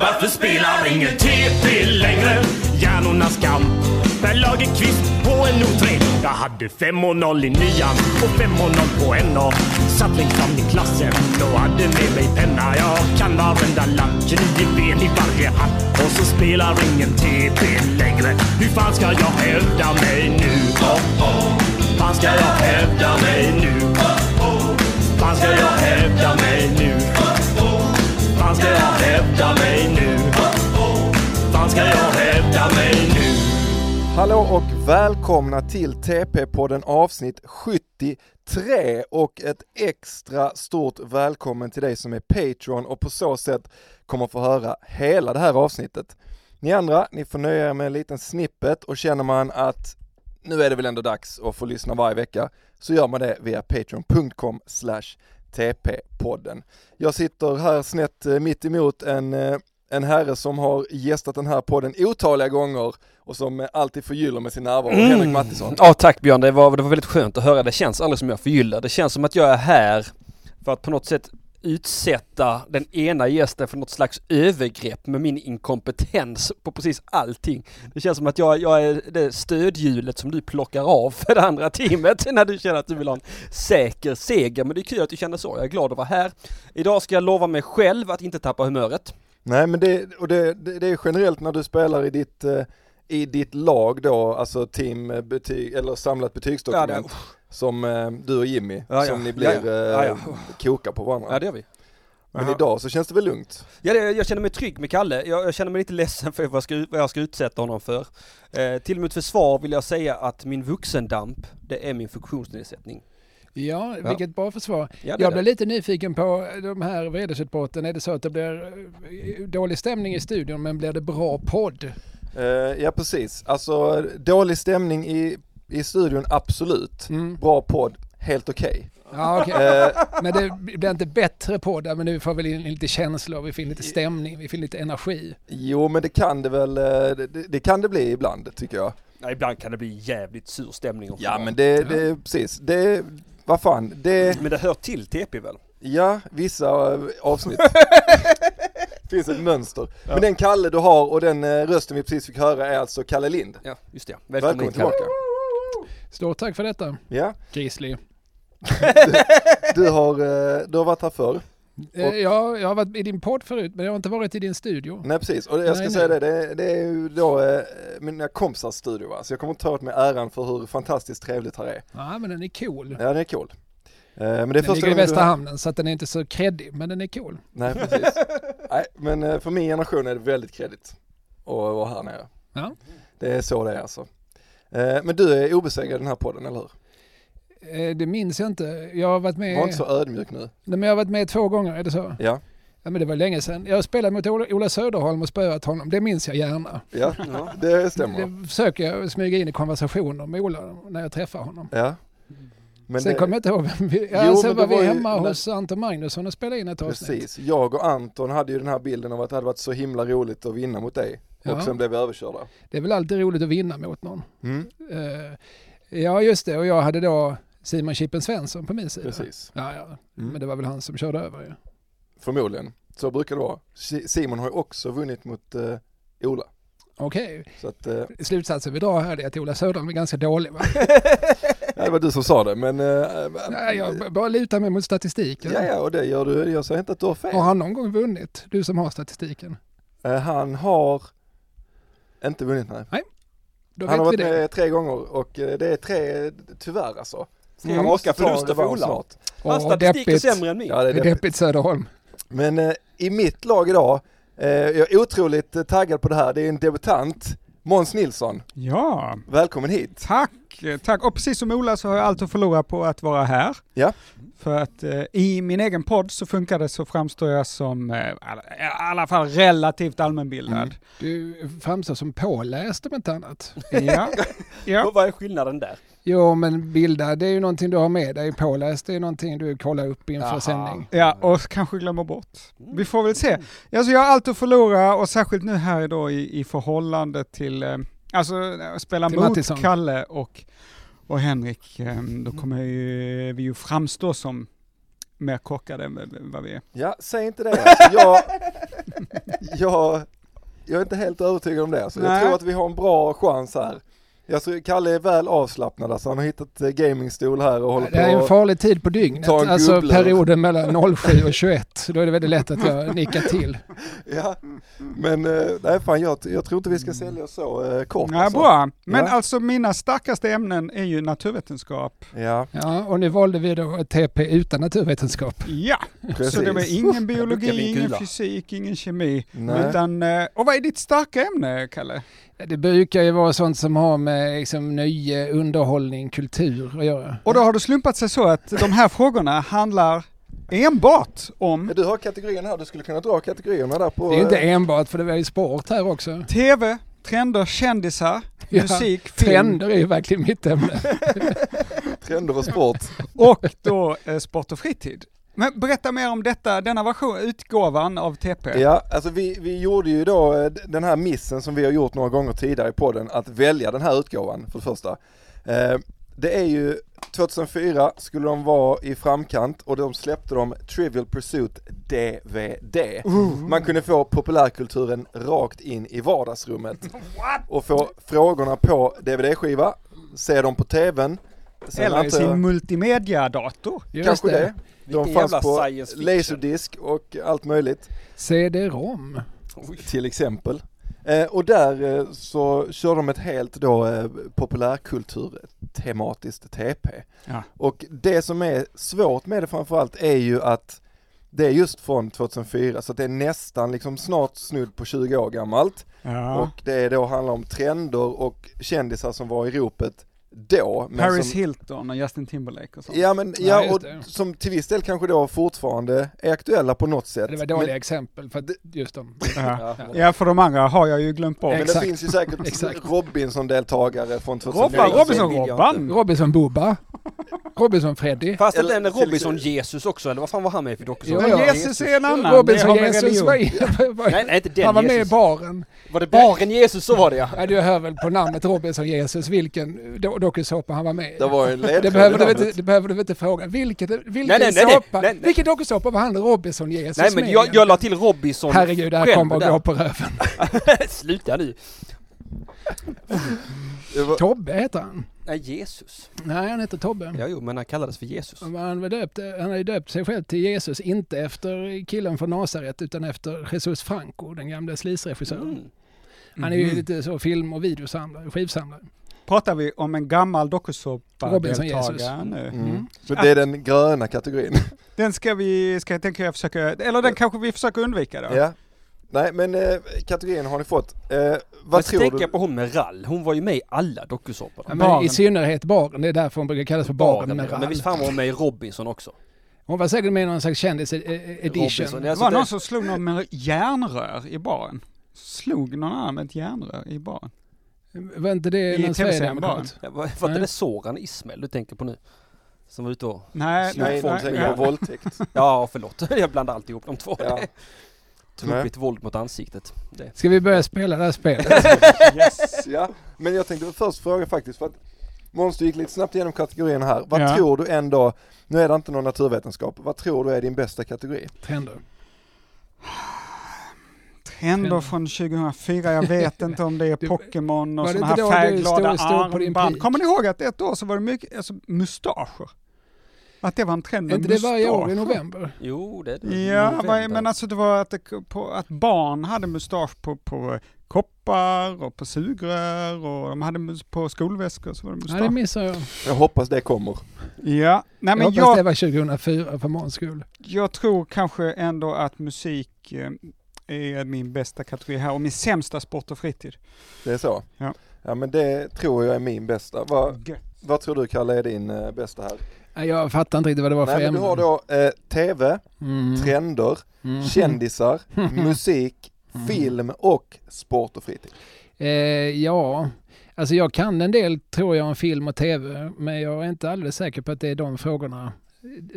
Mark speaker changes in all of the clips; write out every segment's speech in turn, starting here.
Speaker 1: Varför spelar ingen TP längre? Hjärnornas kamp. Per Lagerkvist på en O3. Jag hade 5.0 i nian och 5.0 på NA. Satt längst fram i klassen och hade med mig penna. Jag kan varenda lapp, nio ben i varje hatt. Och så spelar ingen TP längre. Hur fan ska jag hävda mig nu? Oh, oh. Fan ska jag hävda mig nu? Oh, oh. Fan ska jag hävda mig nu? Oh, oh. Fan ska jag hävda mig nu? Fan ska jag hävda mig nu?
Speaker 2: Hallå och välkomna till TP-podden avsnitt 73 och ett extra stort välkommen till dig som är Patreon och på så sätt kommer få höra hela det här avsnittet. Ni andra, ni får nöja er med en liten snippet och känner man att nu är det väl ändå dags att få lyssna varje vecka så gör man det via patreon.com slash TP-podden. Jag sitter här snett eh, mitt emot en, eh, en herre som har gästat den här podden otaliga gånger och som eh, alltid förgyller med sin närvaro,
Speaker 3: Mm.
Speaker 2: Henrik Mattisson.
Speaker 3: Ja tack Björn, det var, det var väldigt skönt att höra. Det känns aldrig som jag förgyllar. Det känns som att jag är här för att på något sätt utsätta den ena gästen för något slags övergrepp med min inkompetens på precis allting. Det känns som att jag, jag är det stödhjulet som du plockar av för det andra teamet när du känner att du vill ha en säker seger. Men det är kul att du känner så. Jag är glad att vara här. Idag ska jag lova mig själv att inte tappa humöret.
Speaker 2: Nej men det, och det, det, det är generellt när du spelar i ditt, eh, i ditt lag då, alltså team, eh, betyg, eller samlat betygsdokument
Speaker 3: Ja, det- oh.
Speaker 2: som eh, du och Jimmy,
Speaker 3: Ja, ja.
Speaker 2: som ni blir
Speaker 3: Ja, ja.
Speaker 2: eh,
Speaker 3: Ja, ja.
Speaker 2: koka på varandra.
Speaker 3: Ja, det gör vi.
Speaker 2: men
Speaker 3: Aha.
Speaker 2: idag så känns det väl lugnt?
Speaker 3: Ja, det, jag känner mig trygg med Kalle. Jag, jag känner mig lite ledsen för vad jag ska, vad jag ska utsätta honom för. Eh, till mitt försvar vill jag säga att min vuxendamp, det är min funktionsnedsättning.
Speaker 4: Ja,
Speaker 3: Ja.
Speaker 4: vilket bra försvar.
Speaker 3: Ja, det är
Speaker 4: Jag
Speaker 3: det.
Speaker 4: blev lite nyfiken på de här vredesutbrotten. Är det så att det blir eh, dålig stämning i studion men blir det bra podd?
Speaker 2: Eh, ja precis, alltså dålig stämning i, i studion, absolut.
Speaker 4: Mm.
Speaker 2: Bra podd, helt okej.
Speaker 4: Ja, okej.
Speaker 2: Eh,
Speaker 4: Men det blir inte bättre podd, men nu får vi in lite känslor, vi får in lite stämning, vi får in lite energi.
Speaker 2: jo men det kan det väl, eh, det, det kan det bli ibland tycker jag.
Speaker 3: Ja, ibland kan det bli jävligt sur stämning också.
Speaker 2: Ja men det, det precis, det, vad fan, det
Speaker 3: Men det hör till TP väl?
Speaker 2: Ja, vissa eh, avsnitt. Finns ett mönster. Men den Kalle du har och den eh, rösten vi precis fick höra är alltså Kalle Lind.
Speaker 3: Ja, just det.
Speaker 2: Välkommen,
Speaker 3: hit, Kalle.
Speaker 2: tillbaka.
Speaker 4: Stort tack för detta, Eh,
Speaker 2: Ja,
Speaker 4: Grizzly.
Speaker 2: du har, eh, du har varit här förr.
Speaker 4: Eh, Jag, jag har varit i din podd förut, men jag har inte varit i din studio.
Speaker 2: Nej precis, och jag ska
Speaker 4: Nej,
Speaker 2: säga det,
Speaker 4: nej.
Speaker 2: det, det är ju då eh, mina kompisars studio va? Så jag kommer inte ta åt mig äran för hur fantastiskt trevligt här är.
Speaker 4: Ja, men den är cool.
Speaker 2: Ja, den är cool. Eh, Men det är
Speaker 4: Den
Speaker 2: första
Speaker 4: ligger i
Speaker 2: gången du
Speaker 4: Västra
Speaker 2: har-
Speaker 4: Hamnen, så att den är inte så kreddig, men den är cool.
Speaker 2: Nej precis. Nej, men eh, för min generation är det väldigt kredit att vara här nere.
Speaker 4: Ja.
Speaker 2: Det är så det är alltså. Eh, Men du är obesegrad i den här podden, eller hur?
Speaker 4: Eh, Det minns jag inte. Jag har varit med...
Speaker 2: Var inte så ödmjuk nu.
Speaker 4: Nej, men jag har varit med två gånger, är det så?
Speaker 2: Ja,
Speaker 4: Ja, men det var länge sedan. Jag spelade mot Ola, Ola Söderholm och spöat honom. Det minns jag gärna.
Speaker 2: ja det stämmer.
Speaker 4: Det försöker jag smyga in i konversationer med Ola när jag träffar honom.
Speaker 2: Ja. Men
Speaker 4: sen
Speaker 2: det,
Speaker 4: kommer jag inte ihåg vem vi...
Speaker 2: Jo,
Speaker 4: Ja,
Speaker 2: men
Speaker 4: sen
Speaker 2: det
Speaker 4: var vi
Speaker 2: var ju-
Speaker 4: hemma
Speaker 2: men-
Speaker 4: hos Anton Magnusson och spelade in ett avsnitt.
Speaker 2: Precis, jag och Anton hade ju den här bilden av att det hade varit så himla roligt att vinna mot dig. Och
Speaker 4: Ja.
Speaker 2: sen blev vi överkörda.
Speaker 4: Det är väl alltid roligt att vinna mot någon.
Speaker 2: Mm.
Speaker 4: Eh, ja, just det. Och jag hade då Simon Chippen Svensson på min sida.
Speaker 2: Precis,
Speaker 4: Ja, ja.
Speaker 2: Mm.
Speaker 4: Men det var väl han som körde över. Ja.
Speaker 2: förmodligen. Så brukar det vara. Si- Simon har ju också vunnit mot eh, Ola.
Speaker 4: Okej,
Speaker 2: Så att, eh,
Speaker 4: slutsatsen vi drar här är att Ola Söderholm är ganska dålig. Va?
Speaker 2: det var du som sa det, men... eh,
Speaker 4: Ja, jag b- bara lutar mig mot statistiken.
Speaker 2: ja, ja, och det gör du. Jag säger inte att du har fel.
Speaker 4: Har han någon gång vunnit? Du som har statistiken.
Speaker 2: Eh, Han har inte vunnit, nej.
Speaker 4: Då
Speaker 2: Han har
Speaker 4: vet vi
Speaker 2: varit
Speaker 4: det.
Speaker 2: med tre gånger och eh, det är tre, tyvärr alltså.
Speaker 3: Tre
Speaker 2: Han måste ta en
Speaker 3: förluster för
Speaker 2: revansch
Speaker 3: Ola.
Speaker 2: snart.
Speaker 3: Hans
Speaker 4: Åh,
Speaker 3: statistik är
Speaker 4: deppigt.
Speaker 3: sämre än min.
Speaker 2: Ja, det
Speaker 4: Det
Speaker 2: är
Speaker 4: är
Speaker 2: det.
Speaker 4: deppigt Söderholm.
Speaker 2: Men eh, i mitt lag idag, eh, jag är otroligt eh, taggad på det här, det är en debutant, Måns Nilsson.
Speaker 5: Ja,
Speaker 2: Välkommen hit!
Speaker 5: tack, tack. Och precis som Ola så har jag allt att förlora på att vara här.
Speaker 2: Ja.
Speaker 5: För att eh, i min egen podd så funkar det så framstår jag som eh, alla- i alla fall relativt allmänbildad.
Speaker 4: Du framstår som påläst om inte annat.
Speaker 5: Ja. ja.
Speaker 3: Och vad är skillnaden där?
Speaker 4: Jo men bilda, det är ju någonting du har med dig. Påläst, det är någonting du kollar upp inför
Speaker 3: Jaha.
Speaker 4: sändning.
Speaker 5: Ja, och kanske glömmer bort. Vi får väl
Speaker 4: Mm.
Speaker 5: se. Alltså jag har allt att förlora och särskilt nu här idag i, i förhållande till, eh, alltså eh, spela
Speaker 4: Till
Speaker 5: mot
Speaker 4: Mattisson. Mm.
Speaker 5: Kalle och, och Henrik, eh, då kommer jag ju, vi ju framstå som mer kockade än vad- vad vi är.
Speaker 2: Ja, säg inte det alltså. jag, jag, jag är inte helt övertygad om det. Så jag
Speaker 5: Nej.
Speaker 2: tror att vi har en bra chans här. Jag tror Kalle är väl avslappnad alltså. Han har hittat eh, gamingstol här och håller
Speaker 4: Det är en
Speaker 2: på.
Speaker 4: farlig tid på dygnet.
Speaker 2: Ta en
Speaker 4: Alltså
Speaker 2: gubblur.
Speaker 4: perioden mellan 07 och 21. Då är det väldigt lätt att jag nickar till.
Speaker 2: Ja. Men eh, nej fan jag, jag tror inte vi ska sälja oss så eh, kort
Speaker 5: Ja,
Speaker 2: alltså.
Speaker 5: bra. Men
Speaker 2: Ja.
Speaker 5: alltså mina starkaste ämnen är ju naturvetenskap.
Speaker 2: Ja,
Speaker 4: Ja, och nu valde vi då ett TP utan naturvetenskap.
Speaker 5: Ja,
Speaker 2: precis.
Speaker 5: så det var ingen
Speaker 3: vilken
Speaker 5: biologi, ingen
Speaker 3: kula.
Speaker 5: fysik, ingen kemi.
Speaker 2: Nej.
Speaker 5: Utan, eh, och vad är ditt starka ämne, Kalle?
Speaker 4: Det brukar ju vara sånt som har med liksom, nöje, underhållning, kultur att göra.
Speaker 5: Och då
Speaker 2: Mm.
Speaker 5: har det slumpat sig så att de här frågorna handlar enbart om
Speaker 2: Du har kategorierna här, du skulle kunna dra kategorierna där på...
Speaker 4: Det är ju inte
Speaker 2: eh,
Speaker 4: enbart för det var ju sport här också.
Speaker 5: TV, trender, kändisar,
Speaker 4: Ja,
Speaker 5: musik, film
Speaker 4: Trender är ju verkligen mitt ämne.
Speaker 2: Trender och sport.
Speaker 5: och då eh, sport och fritid. Men berätta mer om detta, denna version, utgåvan av TP.
Speaker 2: Ja, alltså vi, vi gjorde ju då eh, d- den här missen som vi har gjort några gånger tidigare i podden, att välja den här utgåvan för det första. Eh, det är ju 2004 skulle de vara i framkant och de släppte dem Trivial Pursuit DVD. Man kunde få populärkulturen rakt in i vardagsrummet och få frågorna på DVD-skiva, se dem på TVn. Sen
Speaker 5: Eller i
Speaker 2: antar jag-
Speaker 5: sin multimedia-dator.
Speaker 4: Just
Speaker 2: Kanske det. De
Speaker 3: Vilken
Speaker 2: fanns
Speaker 3: jävla
Speaker 2: på
Speaker 3: science fiction.
Speaker 2: laserdisk och allt möjligt.
Speaker 4: CD-ROM.
Speaker 2: Till exempel. Eh, och där eh, så kör de ett helt då eh, populärkulturtematiskt TP.
Speaker 5: Ja.
Speaker 2: Och det som är svårt med det framförallt är ju att det är just från 2004 så att det är nästan liksom snart snudd på 20 år gammalt.
Speaker 5: Ja.
Speaker 2: Och det är då handlar om trender och kändisar som var i ropet då. men
Speaker 5: Paris
Speaker 2: som,
Speaker 5: Hilton och Justin Timberlake och sånt.
Speaker 2: Ja men
Speaker 4: Ja,
Speaker 2: ja,
Speaker 4: just
Speaker 2: och
Speaker 4: det.
Speaker 2: som till viss del kanske då fortfarande är aktuella på något sätt.
Speaker 4: Det var
Speaker 2: Men-
Speaker 4: dåliga exempel för att just dem.
Speaker 5: Ja.
Speaker 2: Ja.
Speaker 5: ja, för de andra har jag ju glömt bort.
Speaker 2: Men det
Speaker 4: Exakt.
Speaker 2: finns ju säkert
Speaker 4: Exakt.
Speaker 2: Robinson-deltagare från 2004.
Speaker 5: Robban,
Speaker 3: Nej, det vill jag
Speaker 5: Robinson-Robban!
Speaker 4: Robinson-Bobba. Robinson-Freddy.
Speaker 3: Fast
Speaker 2: Eller
Speaker 3: inte
Speaker 2: till
Speaker 3: en
Speaker 2: exempel-
Speaker 3: Robinson-Jesus också, eller vad fan var han med för
Speaker 4: Ja,
Speaker 3: dokusåpa?
Speaker 4: ja.
Speaker 5: Jesus är en annan. det har med
Speaker 4: Robinson-Jesus
Speaker 5: religion.
Speaker 4: var, i- var,
Speaker 3: Nej, nej, inte den
Speaker 4: Han var med i
Speaker 3: Jesus.
Speaker 4: baren.
Speaker 3: Var det baren Jesus så var det ja.
Speaker 4: Ja, du hör väl på namnet Robinson-Jesus vilken eh, do- dokusåpa han var med i.
Speaker 2: Det var ju en ledtråd
Speaker 4: Det
Speaker 2: i
Speaker 4: behöver, du
Speaker 2: namnet.
Speaker 4: inte, det behöver du inte fråga. Vilket, vilken
Speaker 3: nej, nej, nej. Nej,
Speaker 4: såpa,
Speaker 3: nej.
Speaker 4: vilken dokusåpa var han Robinson-Jesus
Speaker 3: Nej
Speaker 4: med
Speaker 3: men jag,
Speaker 4: egentligen?
Speaker 3: jag la till Robinson
Speaker 4: Herregud, det här
Speaker 3: själv
Speaker 4: kommer att
Speaker 3: där.
Speaker 4: gå på röven.
Speaker 3: Sluta nu.
Speaker 2: Det var-
Speaker 4: Tobbe heter han.
Speaker 3: Nej, Jesus.
Speaker 4: Nej, han heter Tobbe.
Speaker 3: Ja, jo, men han kallades för Jesus.
Speaker 4: Men Han, var döpt, han har ju döpt sig själv till Jesus, inte efter killen från Nasaret utan efter Jesus Franco, den gamla slisregissören.
Speaker 3: Mm.
Speaker 4: Han är ju
Speaker 5: Mm.
Speaker 4: lite så film och videosamlare, skivsamlare.
Speaker 5: Pratar vi om en gammal
Speaker 4: Robinson Jesus.
Speaker 5: dokusåpa-deltagare nu?
Speaker 2: Mm. Så det är den gröna kategorin.
Speaker 5: Den ska vi, ska, den kan jag försöka, eller den kanske vi försöker undvika då.
Speaker 2: ja. alltså Nej men eh, kategorin har ni fått. Eh,
Speaker 3: Men
Speaker 2: vad
Speaker 3: så tänker
Speaker 2: tror
Speaker 3: jag
Speaker 2: du?
Speaker 3: på hon med rall. Hon var ju med i alla dokusåpor.
Speaker 4: Ja, men
Speaker 5: Baren.
Speaker 4: I synnerhet baren, det är därför hon brukar kallas för baren med
Speaker 3: Men
Speaker 4: rall.
Speaker 3: visst fan var hon med i Robinson också?
Speaker 4: Hon var säkert med i någon slags eh, kändis-edition.
Speaker 3: Robinson,
Speaker 5: Det
Speaker 3: alltså
Speaker 5: var
Speaker 3: det-
Speaker 5: någon som slog någon med järnrör i baren. Slog någon annan med ett järnrör i baren.
Speaker 4: Var inte det
Speaker 5: I
Speaker 4: någon
Speaker 5: TV-serien
Speaker 4: sverigedemokrat?
Speaker 3: Ja, Var var inte
Speaker 4: Nej.
Speaker 3: det Soran Ismail du tänker på nu? Som var ute och...
Speaker 5: Nej,
Speaker 3: Slog
Speaker 2: Nej,
Speaker 5: nej,
Speaker 2: någon
Speaker 5: nej.
Speaker 2: tänker på
Speaker 5: Ja.
Speaker 2: våldtäkt.
Speaker 3: Ja, förlåt. Jag blandade alltid ihop de två.
Speaker 2: Ja.
Speaker 3: Trubbigt våld mot ansiktet. Det.
Speaker 4: Ska vi börja spela det här spelet?
Speaker 5: Yes.
Speaker 2: Ja. Men jag tänkte först fråga faktiskt för att Måns, du gick lite snabbt igenom kategorin här. Vad
Speaker 5: Ja.
Speaker 2: tror du ändå, nu är det inte någon naturvetenskap, vad tror du är din bästa kategori?
Speaker 4: Trender.
Speaker 5: Trender från 2004, jag vet inte om det är
Speaker 4: Du-
Speaker 5: Pokémon och
Speaker 4: var det
Speaker 5: sådana
Speaker 4: inte
Speaker 5: här
Speaker 4: då du
Speaker 5: färgglada
Speaker 4: stod- stod på din
Speaker 5: armband.
Speaker 4: pik?
Speaker 5: Kommer ni ihåg att ett år så var det mycket, alltså mustascher? Att det var en trend
Speaker 4: Är
Speaker 5: med
Speaker 4: inte det varje år i
Speaker 5: mustascher.
Speaker 4: november?
Speaker 3: Jo, det är det.
Speaker 5: Ja,
Speaker 3: November.
Speaker 5: vad- men alltså det var att, det, på, att barn hade mustasch på, på eh, koppar och på sugrör och de hade mus, på skolväskor så var det
Speaker 4: Nej, det
Speaker 5: mustasch.
Speaker 4: missar jag.
Speaker 2: Jag hoppas det kommer.
Speaker 5: Ja, nej
Speaker 4: Jag
Speaker 5: men
Speaker 4: hoppas
Speaker 5: jag,
Speaker 4: det var 2004 för Måns skull.
Speaker 5: jag tror kanske ändå att musik eh, är min bästa kategori här och min sämsta sport och fritid.
Speaker 2: Det är så?
Speaker 5: Ja.
Speaker 2: ja men det tror jag är min bästa. Vad,
Speaker 5: Gött.
Speaker 2: vad tror du Kalle är din eh, bästa här?
Speaker 4: Nej, Jag fattar inte riktigt vad det var för
Speaker 2: Nej men du har då eh, TV,
Speaker 4: Mm.
Speaker 2: trender,
Speaker 4: Mm.
Speaker 2: kändisar,
Speaker 4: Mm.
Speaker 2: musik,
Speaker 4: Mm.
Speaker 2: film och sport och fritid.
Speaker 4: Eh, ja, alltså jag kan en del tror jag om film och tv, men jag är inte alldeles säker på att det är de frågorna,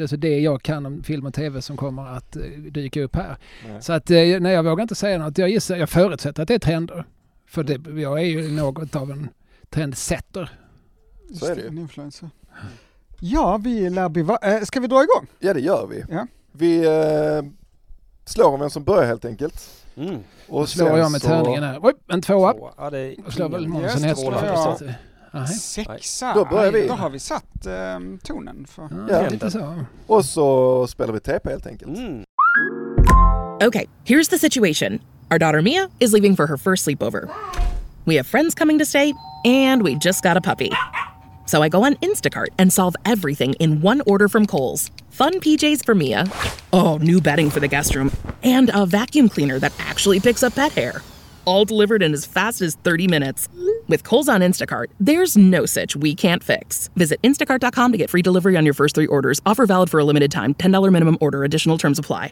Speaker 4: alltså det jag kan om film och tv som kommer att eh, dyka upp här.
Speaker 2: Nej.
Speaker 4: Så att, eh, nej, jag vågar inte säga något. Jag gissar, jag förutsätter att det är trender. För det, jag är ju något av en trendsetter.
Speaker 2: Så är det ju.
Speaker 5: En influencer. Ja, vi lär bli... va- eh, Ska vi dra igång?
Speaker 2: Ja det gör vi.
Speaker 5: Ja.
Speaker 2: Vi eh, slår om vem som börjar helt enkelt.
Speaker 3: Mm.
Speaker 2: Och
Speaker 4: Slår
Speaker 2: sen
Speaker 4: jag med
Speaker 2: så-
Speaker 4: tärningen här. Oj, en tvåa.
Speaker 3: Så, ja, det är
Speaker 4: Och slår väl
Speaker 3: ingen
Speaker 4: Månsson
Speaker 3: strålande
Speaker 5: Hedström.
Speaker 4: Hedström.
Speaker 5: Ja.
Speaker 3: prestation.
Speaker 4: Nej,
Speaker 5: Sexa!
Speaker 2: Då börjar vi.
Speaker 5: Då har vi satt ehm, tonen. För.
Speaker 4: ja, lite så.
Speaker 2: Och så spelar vi TP helt enkelt.
Speaker 3: Mm.
Speaker 6: Okay, here's the situation. Our daughter Mia is leaving for her first sleepover. We have friends coming to stay, and we just got a puppy. So I go on Instacart and solve everything in one order from Kohl's. Fun PJs for Mia. Oh, new bedding for the guest room. And a vacuum cleaner that actually picks up pet hair. All delivered in as fast as 30 minutes. With Kohl's on Instacart, there's no such we can't fix. Visit instacart.com to get free delivery on your first three orders. Offer valid for a limited time. $10 minimum order. Additional terms apply.